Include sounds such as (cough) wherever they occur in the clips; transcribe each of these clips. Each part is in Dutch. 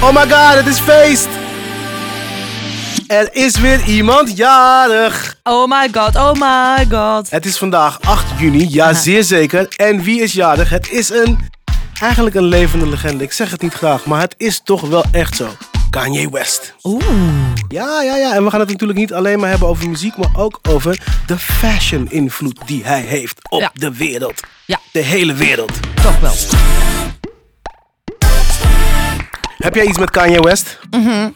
Oh my god, het is feest! Er is weer iemand jarig. Oh my god, oh my god. Het is vandaag 8 juni, ja zeer zeker. En wie is jarig? Het is een... Eigenlijk een levende legende. Ik zeg het niet graag, maar het is toch wel echt zo. Kanye West. Oeh. Ja, ja, ja. En we gaan het natuurlijk niet alleen maar hebben over muziek, maar ook over de fashion-invloed die hij heeft op Ja. de wereld. Ja. De hele wereld. Toch wel. Heb jij iets met Kanye West? Mhm.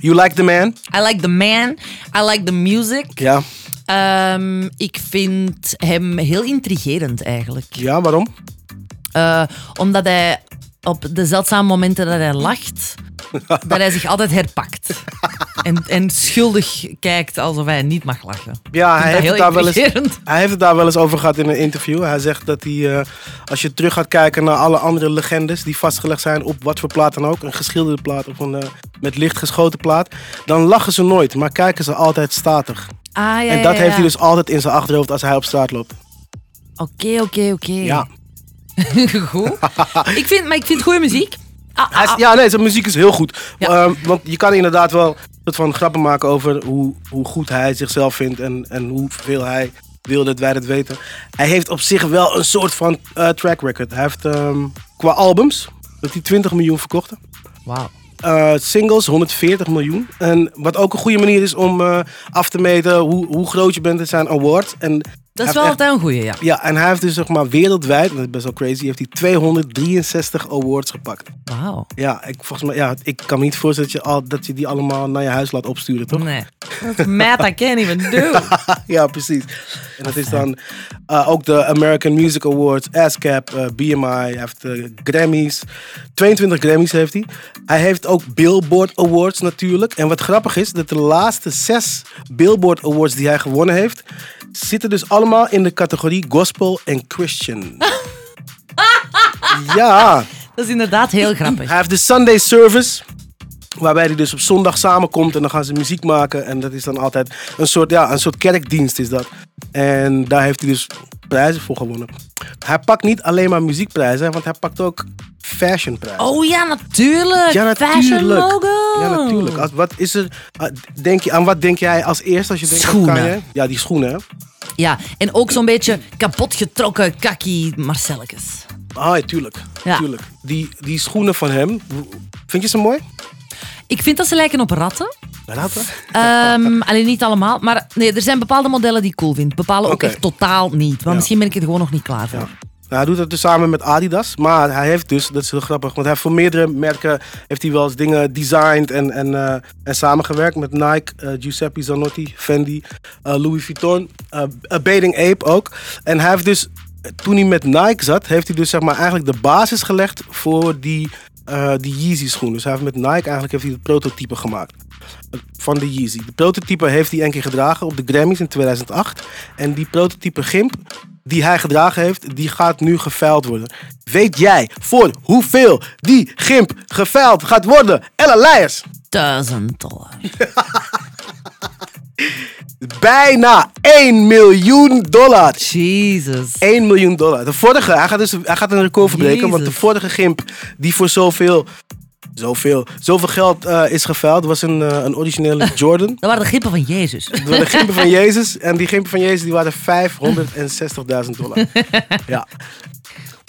You like the man? I like the man. I like the music. Ja. Ehm, ik vind hem heel intrigerend eigenlijk. Ja, waarom? Eh, omdat hij op de zeldzame momenten dat hij (laughs) lacht, dat hij zich altijd herpakt. En, en schuldig kijkt alsof hij niet mag lachen. Ja, Ik hij vind dat heeft, heel het daar wel eens, intrigerend. hij heeft het daar wel eens over gehad in een interview. Hij zegt dat hij, eh, als je terug gaat kijken naar alle andere legendes die vastgelegd zijn op wat voor plaat dan ook, een geschilderde plaat of een eh, met licht geschoten plaat, dan lachen ze nooit, maar kijken ze altijd statig. Ah, ja, en ja, dat ja. heeft hij dus altijd in zijn achterhoofd als hij op straat loopt. Oké, oké, oké. Ja, (laughs) Goed. Ik vind, maar ik vind goede muziek. Ah, hij is- ah, ah. ja nee, zijn muziek is heel goed. Ja. Ehm, want je kan inderdaad wel een soort van grappen maken over hoe, hoe goed hij zichzelf vindt en, en hoeveel hij wil dat wij dat weten. Hij heeft op zich wel een soort van eh, track record. Hij heeft ehm, qua albums, dat hij 20 miljoen verkochten. Wauw. Eh, singles 140 miljoen. En wat ook een goede manier is om eh, af te meten hoe, hoe groot je bent. Het zijn awards. En hij Dat heeft is wel echt- altijd een goede, ja. ja, en hij heeft dus zeg maar wereldwijd, dat is best wel crazy, heeft hij 263 awards gepakt. Wauw. Ja, ik, volgens mij, ja, ik kan me niet voorstellen dat je, al, dat je die allemaal naar je huis laat opsturen, toch? (laughs) Nee. Dat is mad, I can't even do. ja, precies. En dat is dan eh, ook de American Music Awards, ASCAP, eh, BMI, hij heeft eh, Grammys. 22 Grammys heeft hij. Hij heeft ook Billboard Awards natuurlijk. En wat grappig is, dat de laatste zes Billboard Awards die hij gewonnen heeft, zitten dus allemaal in de categorie gospel en Christian. ja. Dat is inderdaad heel (clears throat) grappig. Hij heeft de Sunday Service. Waarbij hij dus op zondag samenkomt en dan gaan ze muziek maken. En dat is dan altijd een soort, ja, een soort kerkdienst is dat. En daar heeft hij dus prijzen voor gewonnen. Hij pakt niet alleen maar muziekprijzen, want hij pakt ook fashionprijzen. Oh ja, natuurlijk. ja, Fashion natuurlijk. logo. Ja, natuurlijk. Als, wat is er, ah, denk je, aan wat denk jij als eerste als je denkt aan Schoenen. Kanye? Ja, die schoenen. hè? Ja, en ook zo'n beetje kapotgetrokken kakkie Marcelletjes. Ah, ja, tuurlijk. Ja. tuurlijk. Die, die schoenen van hem, vind je ze mooi? Ik vind dat ze lijken op ratten. Ratten? Ehm, alleen niet allemaal. Maar nee, er zijn bepaalde modellen die ik cool vind. Bepaalde ook Oké. echt totaal niet. Want misschien ben ik er gewoon nog niet klaar voor. Nou, hij doet dat dus samen met Adidas. Maar hij heeft dus, dat is heel grappig, want hij heeft voor meerdere merken heeft hij wel eens dingen designed en, en, eh, en samengewerkt. Met Nike, eh, Giuseppe Zanotti, Fendi, eh, Louis Vuitton, eh eh, Bathing Ape ook. En hij heeft dus, eh, toen hij met Nike zat, heeft hij dus zeg maar eigenlijk de basis gelegd voor die, eh, die Yeezy schoen. Dus hij heeft met Nike eigenlijk heeft hij het prototype gemaakt van de Yeezy. De prototype heeft hij een keer gedragen op de Grammys in 2008. En die prototype gimp die hij gedragen heeft, die gaat nu geveild worden. Weet jij voor hoeveel die gimp geveild gaat worden? Ella Leijers. Duizend dollar. Bijna 1 miljoen dollar. Jesus. 1 miljoen dollar. De vorige, hij gaat, dus, hij gaat een record verbreken. Want de Jezus. vorige gimp die voor zoveel, zoveel, zoveel geld eh, is geveild, was een, eh, een originele Jordan. Dat waren de grippen van Jezus. Door de gimpen van Jezus. En die gimpen van Jezus die waren 560.000 dollar. Ja,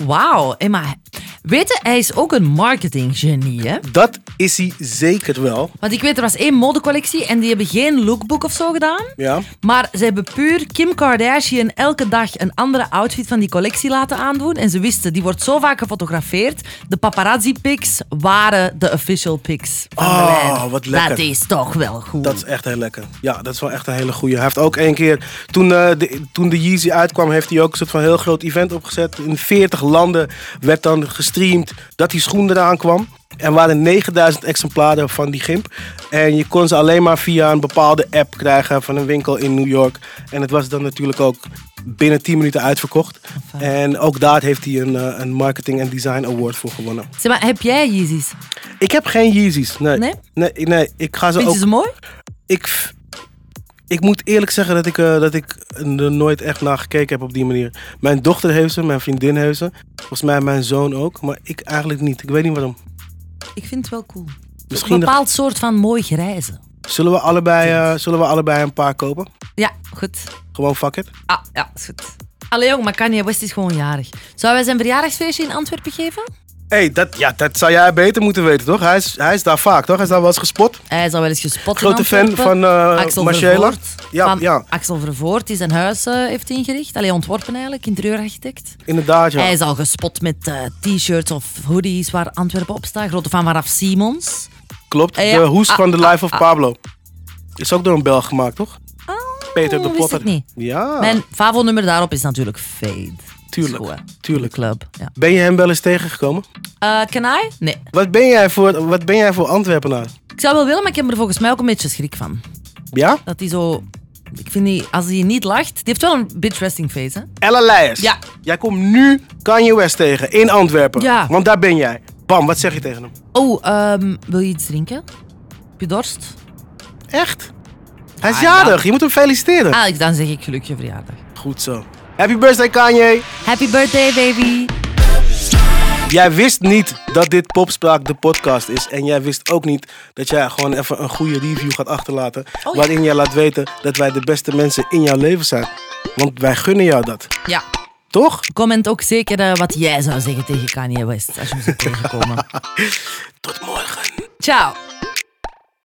Wauw. Hey, maar weet je, hij is ook een marketinggenie, hè? dat is hij zeker wel. Want ik weet, er was één modecollectie en die hebben geen lookbook of zo gedaan. Ja. Maar ze hebben puur Kim Kardashian elke dag een andere outfit van die collectie laten aandoen. En ze wisten, die wordt zo vaak gefotografeerd. De paparazzi pics waren de official pics van de Oh, leider. wat lekker. Dat is toch wel goed. Dat is echt heel lekker. Ja, dat is wel echt een hele goeie. Hij heeft ook één keer, toen, eh, de, toen de Yeezy uitkwam, heeft hij ook een soort van heel groot event opgezet. In 40 landen werd dan gestreamd dat die schoen eraan kwam. Er waren 9000 exemplaren van die gimp. En je kon ze alleen maar via een bepaalde app krijgen van een winkel in New York. En het was dan natuurlijk ook binnen 10 minuten uitverkocht. En ook daar heeft hij een, eh, een Marketing en Design Award voor gewonnen. Zeg maar, heb jij Yeezys? Ik heb geen Yeezys. Nee. Nee? Nee, nee, ik ga ze Vind ook je ze mooi? ik, ik moet eerlijk zeggen dat ik, eh, dat ik er nooit echt naar gekeken heb op die manier. Mijn dochter heeft ze, mijn vriendin heeft ze. Volgens mij mijn zoon ook, maar ik eigenlijk niet. Ik weet niet waarom. Ik vind het wel cool. een Misschien bepaald soort van mooi grijze. zullen, we allebei, eh, zullen we allebei een paar kopen. Ja, goed. Gewoon fuck it. Ah, ja, is goed. Allee jong, maar Kanye West is gewoon jarig. Zou wij zijn verjaardagsfeestje in Antwerpen geven? hey, dat, ja, dat zou jij beter moeten weten, toch? Hij is, hij is daar vaak, toch? Hij is daar wel eens gespot. Hij is al wel eens gespot in Grote fan Antwerpen. van eh Axel Marcella. Vervoort. Ja, van ja, Axel Vervoort, die zijn huis eh, heeft ingericht. Allee, ontworpen eigenlijk, interieurarchitect. inderdaad. Ja. Hij is al gespot met eh, t-shirts of hoodies waar Antwerpen op staat. Grote fan van Raf Simons. Klopt. Eh, ja. De hoes Ah, van The ah, Life of ah. Oh, Pablo. Is ook door een Belg gemaakt, toch? Peter de wist Potter. ik niet. Ja, Mijn favo-nummer daarop is natuurlijk Fade. Ah. tuurlijk. Schoen. tuurlijk. Club. Ja. Ben je hem wel eens tegengekomen? Eh, can I? Nee. Wat ben jij voor, wat ben jij voor Antwerpenaar? Ik zou wel willen, maar ik heb er volgens mij ook een beetje schrik van. Ja? Dat hij zo... Ik vind die, als hij niet lacht... Die heeft wel een bitch resting face, hè? Ella Leijers. Ja. Jij komt nu Kanye West tegen in Antwerpen. Ja. Want daar ben jij. Bam, wat zeg je tegen hem? Oh, ehm, wil je iets drinken? Heb je dorst? Echt? Hij is Ah, jarig. ja. Je moet hem feliciteren. Ah, dan zeg ik gelukkig verjaardag. Goed zo. Happy birthday Kanye. Happy birthday, baby. Jij wist niet dat dit Popspraak de podcast is. En jij wist ook niet dat jij gewoon even een goede review gaat achterlaten. Oh, ja. Waarin jij laat weten dat wij de beste mensen in jouw leven zijn. Want wij gunnen jou dat. Ja, Toch? comment ook zeker eh, wat jij zou zeggen tegen Kanye West als je hem zou tegenkomen. Tot morgen. Ciao.